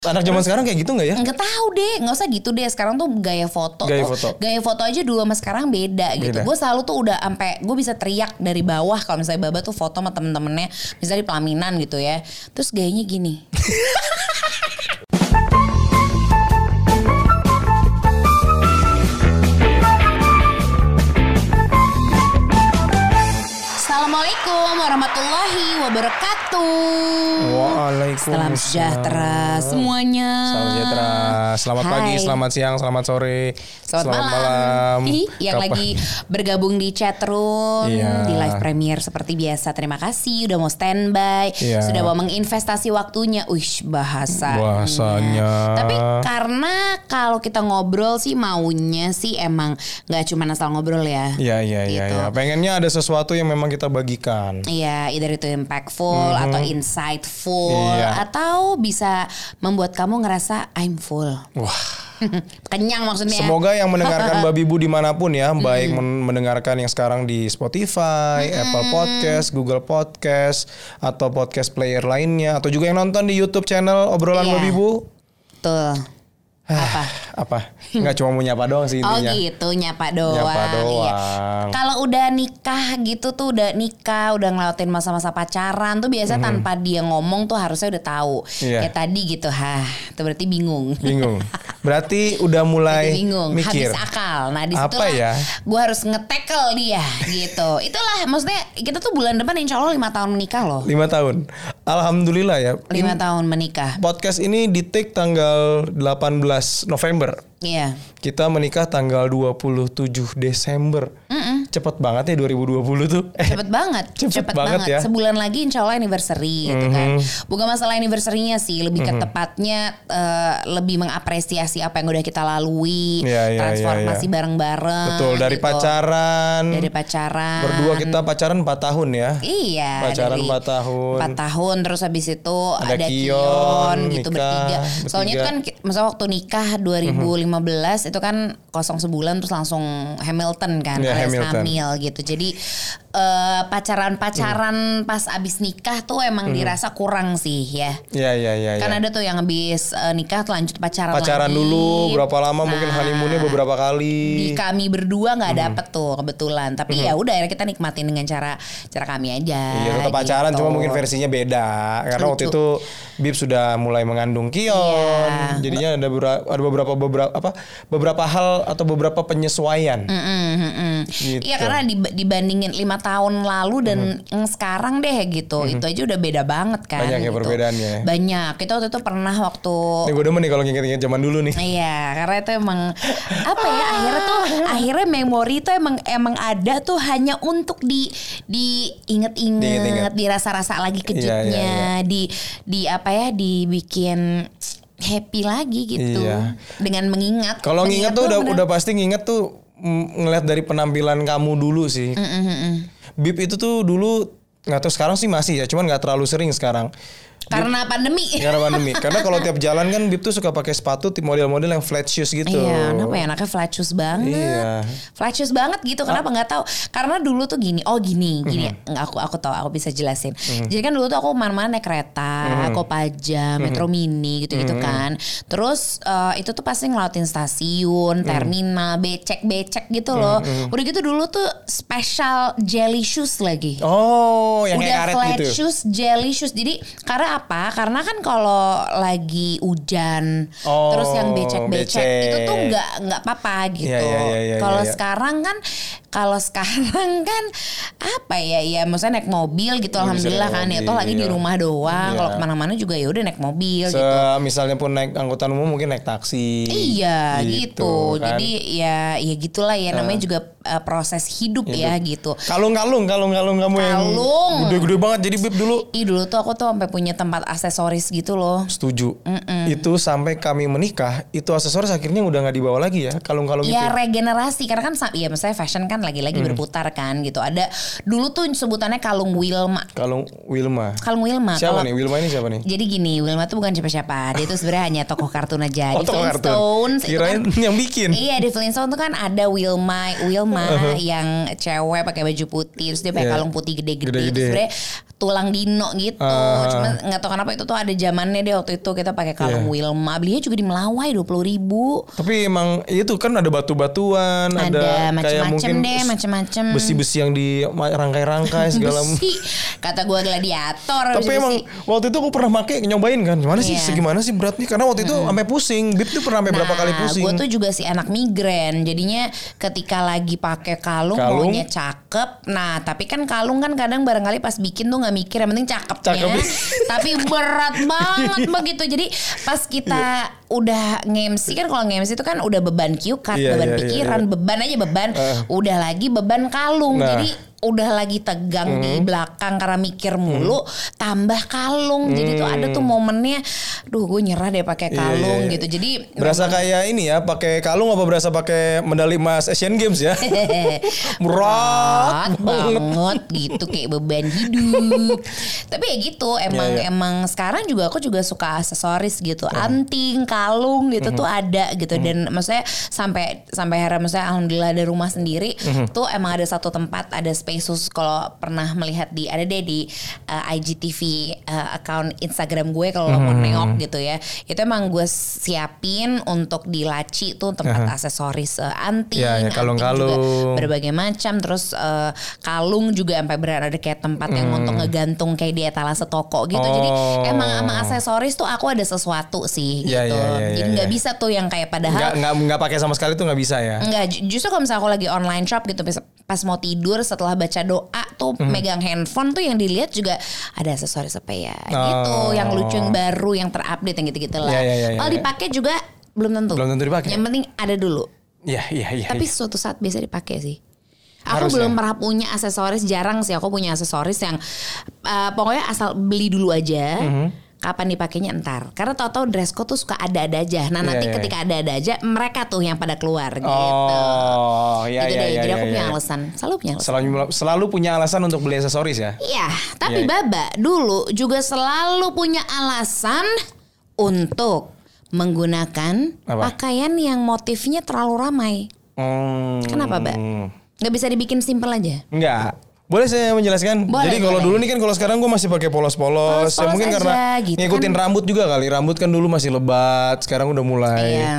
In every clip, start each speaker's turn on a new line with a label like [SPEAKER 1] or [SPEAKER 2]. [SPEAKER 1] Anak zaman sekarang kayak gitu nggak ya?
[SPEAKER 2] Nggak tahu deh, nggak usah gitu deh. Sekarang tuh gaya foto,
[SPEAKER 1] Gaya
[SPEAKER 2] tuh,
[SPEAKER 1] foto.
[SPEAKER 2] gaya foto aja dulu sama sekarang beda,
[SPEAKER 1] Beda.
[SPEAKER 2] gitu. Gue selalu tuh udah sampai gue bisa teriak dari bawah kalau misalnya Baba tuh foto sama temen-temennya, misalnya di pelaminan gitu ya. Terus gayanya gini. Assalamualaikum warahmatullahi wabarakatuh. Salam
[SPEAKER 1] Waalaikumsalam.
[SPEAKER 2] sejahtera semuanya.
[SPEAKER 1] Salam sejahtera. Selamat
[SPEAKER 2] Hai.
[SPEAKER 1] pagi, selamat siang, selamat sore,
[SPEAKER 2] Selamat, malam. Ih, yang
[SPEAKER 1] Kapan-
[SPEAKER 2] lagi bergabung di chat room,
[SPEAKER 1] Iya.
[SPEAKER 2] di live premiere seperti biasa. Terima kasih udah mau standby,
[SPEAKER 1] Iya.
[SPEAKER 2] sudah mau menginvestasi waktunya. Uish, bahasa.
[SPEAKER 1] Bahasanya.
[SPEAKER 2] Tapi karena kalau kita ngobrol sih maunya sih emang nggak cuma asal ngobrol ya.
[SPEAKER 1] Iya, iya, iya,
[SPEAKER 2] Gitu.
[SPEAKER 1] iya. Pengennya ada sesuatu yang memang kita bagikan.
[SPEAKER 2] Iya, either itu impactful atau insightful
[SPEAKER 1] Mhm. Iya.
[SPEAKER 2] atau bisa membuat kamu ngerasa I'm full.
[SPEAKER 1] Wah,
[SPEAKER 2] Nah. Kenyang maksudnya.
[SPEAKER 1] semoga yang mendengarkan Babi Bu dimanapun ya, baik men- mendengarkan yang sekarang di Spotify, Apple Podcast, Google Podcast, atau podcast player lainnya, atau juga yang nonton di YouTube channel obrolan
[SPEAKER 2] Iya.
[SPEAKER 1] Babi Bu.
[SPEAKER 2] Betul.
[SPEAKER 1] Ah,
[SPEAKER 2] Apa?
[SPEAKER 1] Apa? Nggak cuma mau nyapa doang sih
[SPEAKER 2] Oh
[SPEAKER 1] intinya.
[SPEAKER 2] gitu nyapa doang.
[SPEAKER 1] Nyapa
[SPEAKER 2] Iya.
[SPEAKER 1] doang.
[SPEAKER 2] Kalau udah nikah gitu tuh udah nikah, udah ngelawatin masa-masa pacaran tuh biasa tanpa dia ngomong tuh harusnya udah tahu.
[SPEAKER 1] Mm-hmm. Iya.
[SPEAKER 2] Ya tadi gitu, hah, itu berarti bingung.
[SPEAKER 1] Bingung. Berarti udah mulai
[SPEAKER 2] Jadi bingung,
[SPEAKER 1] mikir.
[SPEAKER 2] habis akal. Nah, di
[SPEAKER 1] Apa
[SPEAKER 2] situlah
[SPEAKER 1] ya?
[SPEAKER 2] gua harus ngetekel dia gitu. Itulah maksudnya kita tuh bulan depan insya Allah lima tahun menikah loh.
[SPEAKER 1] Lima tahun. Alhamdulillah ya.
[SPEAKER 2] Lima tahun menikah.
[SPEAKER 1] Podcast ini di take tanggal 18 November.
[SPEAKER 2] Iya.
[SPEAKER 1] Kita menikah tanggal 27 Desember. Cepet banget ya 2020 tuh. Eh,
[SPEAKER 2] Cepet banget,
[SPEAKER 1] Cepet banget ya. Mhm.
[SPEAKER 2] Sebulan lagi insya Allah anniversary gitu kan. Bukan masalah anniversary-nya sih, lebih ke tepatnya eh, lebih mengapresiasi apa yang udah kita
[SPEAKER 1] Iya,
[SPEAKER 2] lalui,
[SPEAKER 1] iya, iya,
[SPEAKER 2] transformasi
[SPEAKER 1] iya.
[SPEAKER 2] bareng-bareng.
[SPEAKER 1] betul dari
[SPEAKER 2] gitu.
[SPEAKER 1] pacaran.
[SPEAKER 2] Dari pacaran.
[SPEAKER 1] Berdua kita pacaran 4 tahun ya.
[SPEAKER 2] Iya.
[SPEAKER 1] Pacaran
[SPEAKER 2] dari
[SPEAKER 1] empat tahun.
[SPEAKER 2] empat tahun terus habis itu ada,
[SPEAKER 1] Ada
[SPEAKER 2] Kion,
[SPEAKER 1] Kion,
[SPEAKER 2] gitu
[SPEAKER 1] nikah,
[SPEAKER 2] bertiga. Soalnya itu
[SPEAKER 1] bertiga.
[SPEAKER 2] kan ki- masa waktu nikah 2015 itu kan kosong sebulan terus langsung Hamilton kan
[SPEAKER 1] Iya,
[SPEAKER 2] alias
[SPEAKER 1] Hamilton.
[SPEAKER 2] hamil gitu. Jadi eh,
[SPEAKER 1] Hmm.
[SPEAKER 2] pacaran-pacaran pas abis nikah tuh emang dirasa kurang sih ya.
[SPEAKER 1] Iya, iya, iya.
[SPEAKER 2] Kan
[SPEAKER 1] Hmm. iya.
[SPEAKER 2] ada tuh yang habis eh, nikah tuh lanjut pacaran
[SPEAKER 1] Pacaran
[SPEAKER 2] lagi.
[SPEAKER 1] dulu berapa lama mungkin
[SPEAKER 2] Nah,
[SPEAKER 1] honeymoonnya beberapa
[SPEAKER 2] di
[SPEAKER 1] kali.
[SPEAKER 2] kami berdua nggak
[SPEAKER 1] Hmm.
[SPEAKER 2] dapet tuh kebetulan tapi ya udah akhirnya kita nikmatin dengan cara cara kami aja
[SPEAKER 1] Iya tetap pacaran
[SPEAKER 2] gitu.
[SPEAKER 1] cuma mungkin versinya beda karena waktu
[SPEAKER 2] Lucu.
[SPEAKER 1] itu Bib sudah mulai mengandung Kion.
[SPEAKER 2] Iya.
[SPEAKER 1] Jadinya ada beberapa ada beberapa beberapa apa beberapa hal atau beberapa penyesuaian.
[SPEAKER 2] Mm-mm, mm-mm.
[SPEAKER 1] Gitu. Hmm.
[SPEAKER 2] Iya karena dib- dibandingin lima tahun lalu dan yang sekarang deh gitu itu aja udah beda banget kan
[SPEAKER 1] Banyak ya
[SPEAKER 2] gitu.
[SPEAKER 1] perbedaannya ya.
[SPEAKER 2] banyak kita waktu itu pernah waktu
[SPEAKER 1] Ini gue demen nih kalau nginget-nginget zaman dulu nih.
[SPEAKER 2] Iya, karena itu emang apa ya akhirnya tuh akhirnya memori itu emang emang ada tuh hanya untuk di diinget-inget,
[SPEAKER 1] Diinget-inget. Iya,
[SPEAKER 2] dirasa-rasa lagi kejutnya, di di apa ya dibikin happy lagi gitu
[SPEAKER 1] Iya.
[SPEAKER 2] dengan mengingat.
[SPEAKER 1] Kalau nginget
[SPEAKER 2] Mengingat
[SPEAKER 1] tuh udah
[SPEAKER 2] iya. bener-
[SPEAKER 1] udah pasti nginget tuh mm, ngelihat dari penampilan kamu dulu sih.
[SPEAKER 2] Mm.
[SPEAKER 1] Bib itu tuh dulu nggak tahu sekarang sih masih ya, cuman nggak terlalu sering sekarang.
[SPEAKER 2] karena pandemi.
[SPEAKER 1] Karena pandemi. Karena kalau tiap jalan kan Bib tuh suka pakai sepatu tip model-model yang flat shoes gitu.
[SPEAKER 2] Iya, kenapa ya anaknya flat shoes banget.
[SPEAKER 1] Iya. Ah.
[SPEAKER 2] Flat shoes banget gitu. Kenapa nggak tahu? Karena dulu tuh gini, oh gini, gini.
[SPEAKER 1] Mm-hmm.
[SPEAKER 2] Nggak, aku aku tahu, aku bisa jelasin. Jadi kan dulu tuh aku mana-mana naik
[SPEAKER 1] Mm-hmm.
[SPEAKER 2] kereta, Kopaja, Metro Mini gitu-gitu kan. Terus eh, itu tuh pasti ngelautin stasiun,
[SPEAKER 1] Mm-hmm.
[SPEAKER 2] terminal, becek-becek gitu loh. Udah gitu dulu tuh special jelly shoes lagi
[SPEAKER 1] Oh, yang
[SPEAKER 2] udah
[SPEAKER 1] kayak karet
[SPEAKER 2] flat
[SPEAKER 1] gitu.
[SPEAKER 2] shoes, jelly shoes. Jadi karena apa? Karena kan kalau lagi hujan,
[SPEAKER 1] Oh,
[SPEAKER 2] terus yang becek-becek
[SPEAKER 1] becek.
[SPEAKER 2] itu tuh nggak nggak apa-apa gitu.
[SPEAKER 1] Iya, iya, iya, iya,
[SPEAKER 2] kalau
[SPEAKER 1] iya, iya.
[SPEAKER 2] sekarang kan, kalau sekarang kan apa ya? Ya, maksudnya naik mobil gitu.
[SPEAKER 1] Bisa
[SPEAKER 2] Alhamdulillah
[SPEAKER 1] naik
[SPEAKER 2] kan ya,
[SPEAKER 1] mobil.
[SPEAKER 2] tuh lagi di rumah doang.
[SPEAKER 1] Iya.
[SPEAKER 2] Kalau kemana-mana juga ya udah naik mobil
[SPEAKER 1] Se-
[SPEAKER 2] gitu.
[SPEAKER 1] misalnya pun naik angkutan umum mungkin naik taksi.
[SPEAKER 2] Iya gitu,
[SPEAKER 1] kan.
[SPEAKER 2] jadi ya ya gitulah ya namanya juga eh, proses hidup ya gitu.
[SPEAKER 1] kalung kalung kalung kalung kamu yang
[SPEAKER 2] Kalung.
[SPEAKER 1] gede-gede banget jadi bib dulu.
[SPEAKER 2] Ih dulu tuh aku tuh sampai punya tempat aksesoris gitu loh.
[SPEAKER 1] Setuju. Itu sampai kami menikah itu aksesoris akhirnya udah nggak dibawa lagi ya Hmm. kalung-kalung
[SPEAKER 2] Ya
[SPEAKER 1] itu.
[SPEAKER 2] regenerasi karena kan sa- ya misalnya fashion kan lagi-lagi berputar kan gitu. Ada dulu tuh sebutannya kalung Wilma.
[SPEAKER 1] Kalung Wilma.
[SPEAKER 2] Kalung Wilma.
[SPEAKER 1] Siapa
[SPEAKER 2] Nah, Kalau-
[SPEAKER 1] nih Wilma ini siapa nih?
[SPEAKER 2] Jadi gini, Wilma tuh bukan siapa-siapa. Dia tuh sebenarnya hanya tokoh kartun aja.
[SPEAKER 1] Oh,
[SPEAKER 2] Di
[SPEAKER 1] tokoh kartun.
[SPEAKER 2] Flintstones itu
[SPEAKER 1] Kirain
[SPEAKER 2] kan-
[SPEAKER 1] yang bikin.
[SPEAKER 2] Iya di Flintstone tuh kan ada Wilma Wilma yang cewek pakai baju putih terus dia pakai
[SPEAKER 1] Uh-huh. Iya.
[SPEAKER 2] kalung putih gede-gede
[SPEAKER 1] Gede-gede. Uh-huh.
[SPEAKER 2] terus sebenarnya tulang dino gitu. Cuma nggak tahu kenapa itu tuh ada zamannya deh waktu itu kita pakai kalung
[SPEAKER 1] Iya.
[SPEAKER 2] Wilma. Belinya juga di Melawai dua puluh ribu.
[SPEAKER 1] Tapi emang itu kan ada batu-batuan, ada,
[SPEAKER 2] Ada
[SPEAKER 1] kayak
[SPEAKER 2] macem-macem
[SPEAKER 1] mungkin
[SPEAKER 2] deh, macem-macem.
[SPEAKER 1] besi-besi yang di rangkai-rangkai segala.
[SPEAKER 2] Besi. Kata gua
[SPEAKER 1] Tapi
[SPEAKER 2] gladiator. besi-besi.
[SPEAKER 1] emang waktu itu aku pernah make nyobain kan. Gimana sih
[SPEAKER 2] Iya.
[SPEAKER 1] segimana sih beratnya? Karena waktu itu sampai pusing. Bib tuh pernah sampai berapa kali pusing.
[SPEAKER 2] Gue Nah, tuh juga si anak migrain. Jadinya ketika lagi pakai kalung,
[SPEAKER 1] Kalung.
[SPEAKER 2] maunya cakep. Nah, tapi kan kalung kan kadang barangkali pas bikin tuh nggak mikir yang penting cakepnya.
[SPEAKER 1] Cakep.
[SPEAKER 2] tapi berat banget begitu. Jadi pas kita
[SPEAKER 1] Iya.
[SPEAKER 2] udah ngemsi kan kalau ngemsi itu kan udah beban kiukat,
[SPEAKER 1] Iya,
[SPEAKER 2] beban
[SPEAKER 1] iya, iya, Eh.
[SPEAKER 2] pikiran, beban aja beban. Udah lagi beban kalung.
[SPEAKER 1] Nah. Mm-hmm.
[SPEAKER 2] Jadi udah lagi tegang di belakang karena mikir mulu tambah kalung jadi tuh ada tuh momennya duh gue nyerah deh pakai
[SPEAKER 1] Mm. Iya, iya,
[SPEAKER 2] kalung
[SPEAKER 1] iya.
[SPEAKER 2] gitu jadi
[SPEAKER 1] Berasa kayak ini ya, pakai kalung apa berasa pakai medali emas Asian Games ya? Berat
[SPEAKER 2] berat banget gitu kayak beban hidup tapi ya gitu emang
[SPEAKER 1] Iya, iya.
[SPEAKER 2] emang sekarang juga aku juga suka aksesoris gitu anting kalung
[SPEAKER 1] Mhm.
[SPEAKER 2] gitu tuh ada gitu dan maksudnya sampai sampai akhirnya maksudnya alhamdulillah ada rumah sendiri
[SPEAKER 1] Mhm.
[SPEAKER 2] tuh emang ada satu tempat ada space khusus kalau pernah melihat di ada deh di uh, IGTV uh, account Instagram gue kalau lo
[SPEAKER 1] Mhm.
[SPEAKER 2] mau neok gitu ya itu emang gue siapin untuk di laci tuh tempat aksesoris uh, anting
[SPEAKER 1] Iya, iya,
[SPEAKER 2] anting juga
[SPEAKER 1] kalung-kalung.
[SPEAKER 2] berbagai macam terus eh, kalung juga sampai berada kayak tempat yang untuk ngegantung kayak di etalase toko gitu jadi
[SPEAKER 1] Hmm. Oh.
[SPEAKER 2] emang sama aksesoris tuh aku ada sesuatu sih gitu
[SPEAKER 1] Iya, iya, iya,
[SPEAKER 2] jadi
[SPEAKER 1] iya,
[SPEAKER 2] nggak
[SPEAKER 1] iya.
[SPEAKER 2] bisa tuh yang kayak
[SPEAKER 1] Nggak
[SPEAKER 2] padahal
[SPEAKER 1] nggak nggak pakai sama sekali tuh nggak bisa ya.
[SPEAKER 2] Enggak, ju- justru kalau misalnya aku lagi online shop gitu pas- pas mau tidur setelah baca doa tuh
[SPEAKER 1] Hmm.
[SPEAKER 2] megang handphone tuh yang dilihat juga ada aksesoris apa ya gitu
[SPEAKER 1] Oh.
[SPEAKER 2] yang lucu yang baru yang terupdate yang gitu-gitu lah.
[SPEAKER 1] Iya, iya, iya,
[SPEAKER 2] Kalau
[SPEAKER 1] iya.
[SPEAKER 2] dipakai juga belum tentu.
[SPEAKER 1] Belum tentu dipakai.
[SPEAKER 2] Yang penting ada dulu.
[SPEAKER 1] Iya iya iya.
[SPEAKER 2] Tapi suatu saat bisa dipakai sih.
[SPEAKER 1] Harus
[SPEAKER 2] Aku
[SPEAKER 1] ya?
[SPEAKER 2] belum pernah punya aksesoris, jarang sih aku punya aksesoris yang eh, pokoknya asal beli dulu aja.
[SPEAKER 1] Mhm.
[SPEAKER 2] Kapan dipakainya entar. Karena tau-tau dress code tuh suka ada-ada aja. Nah,
[SPEAKER 1] Iya,
[SPEAKER 2] nanti
[SPEAKER 1] iya.
[SPEAKER 2] ketika ada-ada aja mereka tuh yang pada keluar gitu.
[SPEAKER 1] Oh iya iya
[SPEAKER 2] gitu deh.
[SPEAKER 1] iya.
[SPEAKER 2] Jadi
[SPEAKER 1] iya,
[SPEAKER 2] aku punya
[SPEAKER 1] iya.
[SPEAKER 2] alasan, selalu punya alasan.
[SPEAKER 1] Selalu selalu punya alasan untuk beli aksesoris ya.
[SPEAKER 2] Iya,
[SPEAKER 1] Iya,
[SPEAKER 2] tapi
[SPEAKER 1] iya.
[SPEAKER 2] Baba dulu juga selalu punya alasan untuk menggunakan
[SPEAKER 1] Apa?
[SPEAKER 2] pakaian yang motifnya terlalu ramai.
[SPEAKER 1] Hmm.
[SPEAKER 2] Kenapa, Mbak? Nggak bisa dibikin simpel aja.
[SPEAKER 1] Enggak. Boleh saya menjelaskan? Jadi
[SPEAKER 2] Boleh,
[SPEAKER 1] kalau
[SPEAKER 2] boleh.
[SPEAKER 1] dulu nih kan kalau sekarang gue masih pakai polos-polos. Ya
[SPEAKER 2] Polos-polos
[SPEAKER 1] mungkin karena
[SPEAKER 2] aja, gitu
[SPEAKER 1] ngikutin
[SPEAKER 2] kan.
[SPEAKER 1] rambut juga kali. Rambut kan dulu masih lebat, sekarang udah mulai
[SPEAKER 2] Iya.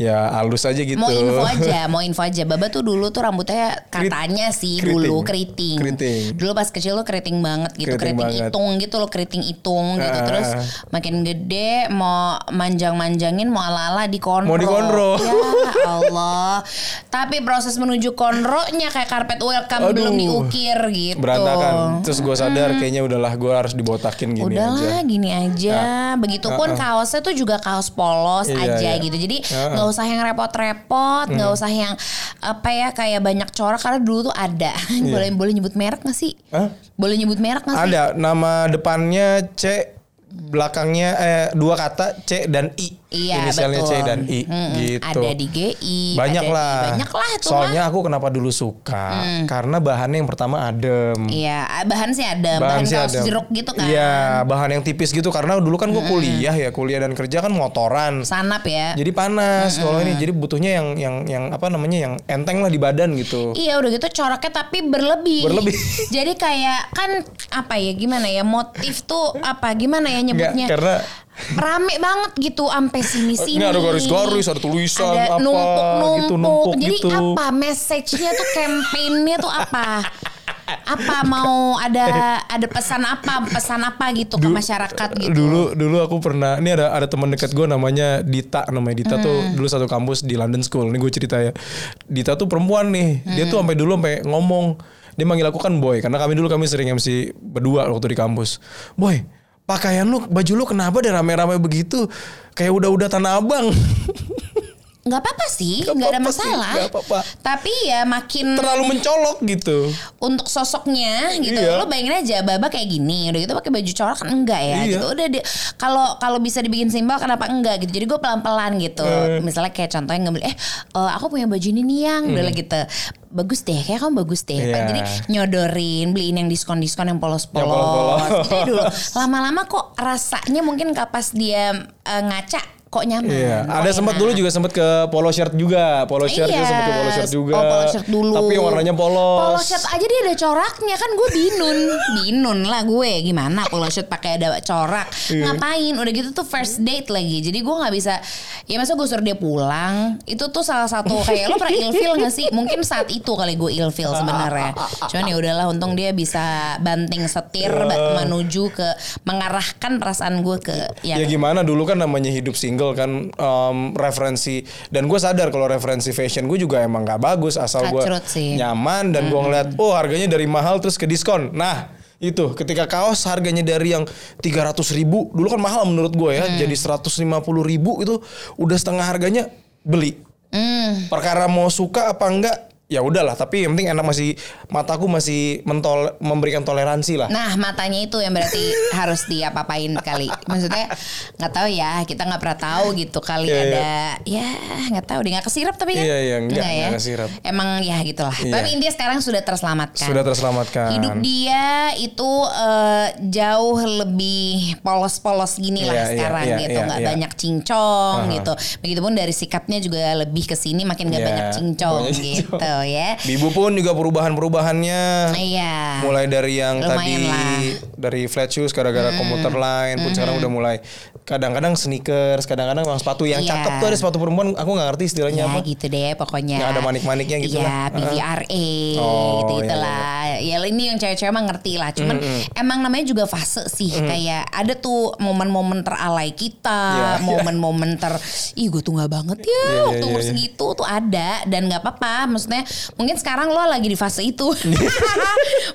[SPEAKER 1] ya halus aja gitu.
[SPEAKER 2] Mau info aja, mau info aja. Baba tuh dulu tuh rambutnya
[SPEAKER 1] Krit-
[SPEAKER 2] katanya sih
[SPEAKER 1] keriting.
[SPEAKER 2] dulu keriting.
[SPEAKER 1] Keriting.
[SPEAKER 2] Dulu pas kecil lo keriting banget
[SPEAKER 1] Keriting
[SPEAKER 2] gitu, keriting,
[SPEAKER 1] banget.
[SPEAKER 2] itung gitu lo keriting itung gitu.
[SPEAKER 1] Ah.
[SPEAKER 2] Terus makin gede mau manjang-manjangin mau ala-ala di
[SPEAKER 1] Mau
[SPEAKER 2] konro.
[SPEAKER 1] dikonro.
[SPEAKER 2] Ya Allah. Tapi proses menuju konronya kayak karpet welcome
[SPEAKER 1] Aduh.
[SPEAKER 2] belum diukir gitu. Hmm.
[SPEAKER 1] Berantakan. Terus gue sadar kayaknya udahlah gue harus dibotakin gini aja. Nah, uh-uh.
[SPEAKER 2] Udahlah gini aja. Begitupun kaosnya tuh juga kaos polos
[SPEAKER 1] Iya,
[SPEAKER 2] aja
[SPEAKER 1] iya. Hmm.
[SPEAKER 2] gitu. Jadi
[SPEAKER 1] Ah.
[SPEAKER 2] nggak usah yang repot-repot, nggak usah yang apa ya kayak banyak corak karena dulu tuh ada. boleh boleh nyebut merek nggak sih?
[SPEAKER 1] Iya. Hah?
[SPEAKER 2] Boleh nyebut merek nggak sih?
[SPEAKER 1] Ada nama depannya C, belakangnya eh dua kata C dan I.
[SPEAKER 2] Iya
[SPEAKER 1] Inisialnya
[SPEAKER 2] betul.
[SPEAKER 1] C dan I
[SPEAKER 2] Mm-mm.
[SPEAKER 1] gitu.
[SPEAKER 2] Ada di GI.
[SPEAKER 1] banyak
[SPEAKER 2] ada di-
[SPEAKER 1] lah.
[SPEAKER 2] Banyak lah itu
[SPEAKER 1] Soalnya
[SPEAKER 2] mah. Hmm.
[SPEAKER 1] aku kenapa dulu suka karena bahannya yang pertama adem.
[SPEAKER 2] Iya bahan sih ada. Bahan,
[SPEAKER 1] sih
[SPEAKER 2] kaos
[SPEAKER 1] adem.
[SPEAKER 2] jeruk gitu kan.
[SPEAKER 1] Iya, bahan yang tipis gitu karena dulu kan gue kuliah ya, kuliah dan kerja kan motoran.
[SPEAKER 2] Sanap ya.
[SPEAKER 1] Jadi panas kalau ini jadi butuhnya yang yang yang apa namanya yang enteng lah di badan gitu.
[SPEAKER 2] Iya udah gitu coraknya tapi berlebih.
[SPEAKER 1] Berlebih.
[SPEAKER 2] Jadi kayak kan apa ya gimana ya motif tuh apa gimana ya
[SPEAKER 1] Enggak
[SPEAKER 2] nyebutnya?
[SPEAKER 1] karena
[SPEAKER 2] rame banget gitu sampai sini sini
[SPEAKER 1] Nggak ada garis-garis, ada tulisan apa,
[SPEAKER 2] numpuk
[SPEAKER 1] gitu,
[SPEAKER 2] numpuk,
[SPEAKER 1] numpuk
[SPEAKER 2] jadi
[SPEAKER 1] gitu.
[SPEAKER 2] apa message-nya tuh campaign-nya tuh apa apa mau ada ada pesan apa pesan apa gitu ke masyarakat gitu
[SPEAKER 1] dulu dulu aku pernah ini ada ada teman dekat gue namanya Dita namanya Dita tuh
[SPEAKER 2] Hmm.
[SPEAKER 1] dulu satu kampus di London School ini gue cerita ya Dita tuh perempuan nih dia
[SPEAKER 2] Hmm.
[SPEAKER 1] tuh sampai dulu sampai ngomong dia manggil aku kan boy karena kami dulu kami sering MC berdua waktu di kampus boy pakaian lu baju lu kenapa deh rame-rame begitu kayak udah-udah tanah abang
[SPEAKER 2] nggak apa-apa sih
[SPEAKER 1] Nggak
[SPEAKER 2] nggak ada
[SPEAKER 1] apa-apa sih,
[SPEAKER 2] masalah
[SPEAKER 1] nggak apa-apa.
[SPEAKER 2] tapi ya makin
[SPEAKER 1] terlalu mencolok gitu
[SPEAKER 2] untuk sosoknya gitu
[SPEAKER 1] Iya.
[SPEAKER 2] lo bayangin aja baba kayak gini udah gitu pakai baju corak kan enggak ya
[SPEAKER 1] Iya.
[SPEAKER 2] gitu udah di- kalau kalau bisa dibikin simbol kenapa enggak gitu jadi gue pelan pelan gitu
[SPEAKER 1] Eh.
[SPEAKER 2] misalnya kayak contohnya ngambil eh eh, aku punya baju ini nih yang udah lah gitu bagus deh kayak kamu bagus deh
[SPEAKER 1] Iya.
[SPEAKER 2] jadi nyodorin beliin yang diskon diskon yang polos
[SPEAKER 1] Yang polos-polos.
[SPEAKER 2] polos jadi dulu lama lama kok rasanya mungkin kapas dia eh, ngaca kok nyaman.
[SPEAKER 1] Iya,
[SPEAKER 2] kok
[SPEAKER 1] ada sempat
[SPEAKER 2] enak.
[SPEAKER 1] dulu juga sempat ke polo shirt juga, polo shirt juga sempat ke polo shirt
[SPEAKER 2] Yes.
[SPEAKER 1] juga.
[SPEAKER 2] Iya. Oh, polo shirt dulu.
[SPEAKER 1] Tapi warnanya polos.
[SPEAKER 2] Polo shirt aja dia ada coraknya kan gue binun, binun lah gue gimana polo shirt pakai ada corak
[SPEAKER 1] Iya.
[SPEAKER 2] ngapain? Udah gitu tuh first date lagi, jadi gue nggak bisa. Ya masa gue suruh dia pulang, itu tuh salah satu kayak lo pernah ilfil gak sih? Mungkin saat itu kali gue ilfil sebenarnya. Cuman ya udahlah, untung dia bisa banting setir ba-
[SPEAKER 1] Iya.
[SPEAKER 2] menuju ke mengarahkan perasaan gue ke yang
[SPEAKER 1] Ya gimana dulu kan namanya hidup single kan em, referensi dan gue sadar kalau referensi fashion gue juga emang gak bagus asal gue
[SPEAKER 2] Kacrut sih. Hmm.
[SPEAKER 1] nyaman dan gue ngeliat oh harganya dari mahal terus ke diskon. Nah itu ketika kaos harganya dari yang 300 ribu dulu kan mahal menurut gue
[SPEAKER 2] Hmm.
[SPEAKER 1] ya jadi 150 ribu itu udah setengah harganya beli.
[SPEAKER 2] Hmm.
[SPEAKER 1] Perkara mau suka apa enggak ya udahlah tapi yang penting enak masih mataku masih mentol memberikan toleransi lah.
[SPEAKER 2] Nah matanya itu yang berarti harus diapa-apain kali. Maksudnya nggak tahu ya kita nggak pernah tahu gitu kali
[SPEAKER 1] Iya,
[SPEAKER 2] ada ya nggak tahu deh nggak kesirap tapi kan.
[SPEAKER 1] Iya, iya, nggak,
[SPEAKER 2] Nggak
[SPEAKER 1] nggak kesirap.
[SPEAKER 2] Emang ya gitulah.
[SPEAKER 1] Iya.
[SPEAKER 2] Tapi intinya sekarang sudah terselamatkan.
[SPEAKER 1] Sudah terselamatkan.
[SPEAKER 2] Hidup dia itu eh, jauh lebih polos-polos
[SPEAKER 1] Iya,
[SPEAKER 2] gini lah
[SPEAKER 1] iya,
[SPEAKER 2] sekarang
[SPEAKER 1] iya,
[SPEAKER 2] gitu,
[SPEAKER 1] iya,
[SPEAKER 2] nggak
[SPEAKER 1] iya.
[SPEAKER 2] banyak cincong gitu. Begitupun dari sikapnya juga lebih ke sini makin nggak
[SPEAKER 1] Iya,
[SPEAKER 2] banyak cincong
[SPEAKER 1] banyak cincong.
[SPEAKER 2] gitu ya.
[SPEAKER 1] Bibu pun juga perubahan-perubahannya.
[SPEAKER 2] Iya.
[SPEAKER 1] mulai dari yang
[SPEAKER 2] Lumayan
[SPEAKER 1] tadi
[SPEAKER 2] lah. Hmm.
[SPEAKER 1] dari flat shoes gara-gara komuter lain pun sekarang udah mulai kadang-kadang sneakers kadang-kadang memang sepatu yang
[SPEAKER 2] Iya.
[SPEAKER 1] cakep tuh ada sepatu perempuan aku nggak ngerti istilahnya
[SPEAKER 2] Ya
[SPEAKER 1] apa
[SPEAKER 2] gitu deh pokoknya.
[SPEAKER 1] Yang ada manik-maniknya gitu
[SPEAKER 2] Iya,
[SPEAKER 1] lah. Oh,
[SPEAKER 2] BVRA gitu
[SPEAKER 1] iya,
[SPEAKER 2] gitulah. Ya ini yang cewek-cewek mah ngerti lah. Cuman emang namanya juga fase sih kayak ada tuh momen-momen teralai kita,
[SPEAKER 1] Iya, iya.
[SPEAKER 2] momen-momen ter ih gue tuh nggak banget ya
[SPEAKER 1] iya,
[SPEAKER 2] waktu
[SPEAKER 1] iya,
[SPEAKER 2] umur
[SPEAKER 1] iya.
[SPEAKER 2] segitu tuh ada dan nggak apa-apa. Maksudnya mungkin sekarang lo lagi di fase itu.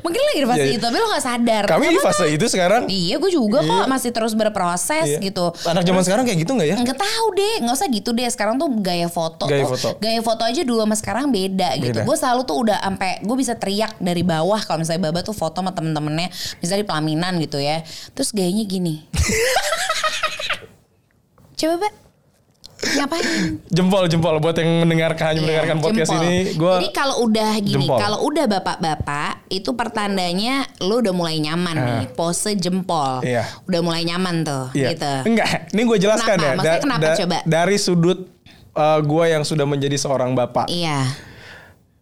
[SPEAKER 2] mungkin lo lagi di fase
[SPEAKER 1] Iya, iya.
[SPEAKER 2] itu tapi lo nggak sadar.
[SPEAKER 1] kami di
[SPEAKER 2] Kenapa?
[SPEAKER 1] fase itu sekarang
[SPEAKER 2] Iya, gue juga kok masih terus berproses
[SPEAKER 1] Iya.
[SPEAKER 2] gitu.
[SPEAKER 1] anak zaman sekarang kayak gitu nggak ya
[SPEAKER 2] Nggak tahu deh, nggak usah gitu deh. Sekarang tuh gaya foto,
[SPEAKER 1] Gaya
[SPEAKER 2] tuh,
[SPEAKER 1] foto.
[SPEAKER 2] gaya foto aja dulu sama sekarang beda,
[SPEAKER 1] Beda.
[SPEAKER 2] gitu. Gue selalu tuh udah sampai gue bisa teriak dari bawah kalau misalnya Baba tuh foto sama temen-temennya, misalnya di pelaminan gitu ya. Terus gayanya gini. Coba Mbak, ngapain?
[SPEAKER 1] jempol jempol buat yang mendengarkan hanya
[SPEAKER 2] Iya,
[SPEAKER 1] mendengarkan podcast
[SPEAKER 2] jempol.
[SPEAKER 1] ini gue
[SPEAKER 2] Jadi kalau udah gini,
[SPEAKER 1] jempol.
[SPEAKER 2] kalau udah bapak-bapak itu pertandanya lu udah mulai nyaman nih, pose
[SPEAKER 1] Ah.
[SPEAKER 2] jempol.
[SPEAKER 1] Iya.
[SPEAKER 2] Udah mulai nyaman tuh gitu.
[SPEAKER 1] Enggak, ini gue jelaskan
[SPEAKER 2] Kenapa?
[SPEAKER 1] ya.
[SPEAKER 2] Maksudnya kenapa coba?
[SPEAKER 1] Dari sudut eh, gue yang sudah menjadi seorang bapak.
[SPEAKER 2] Iya.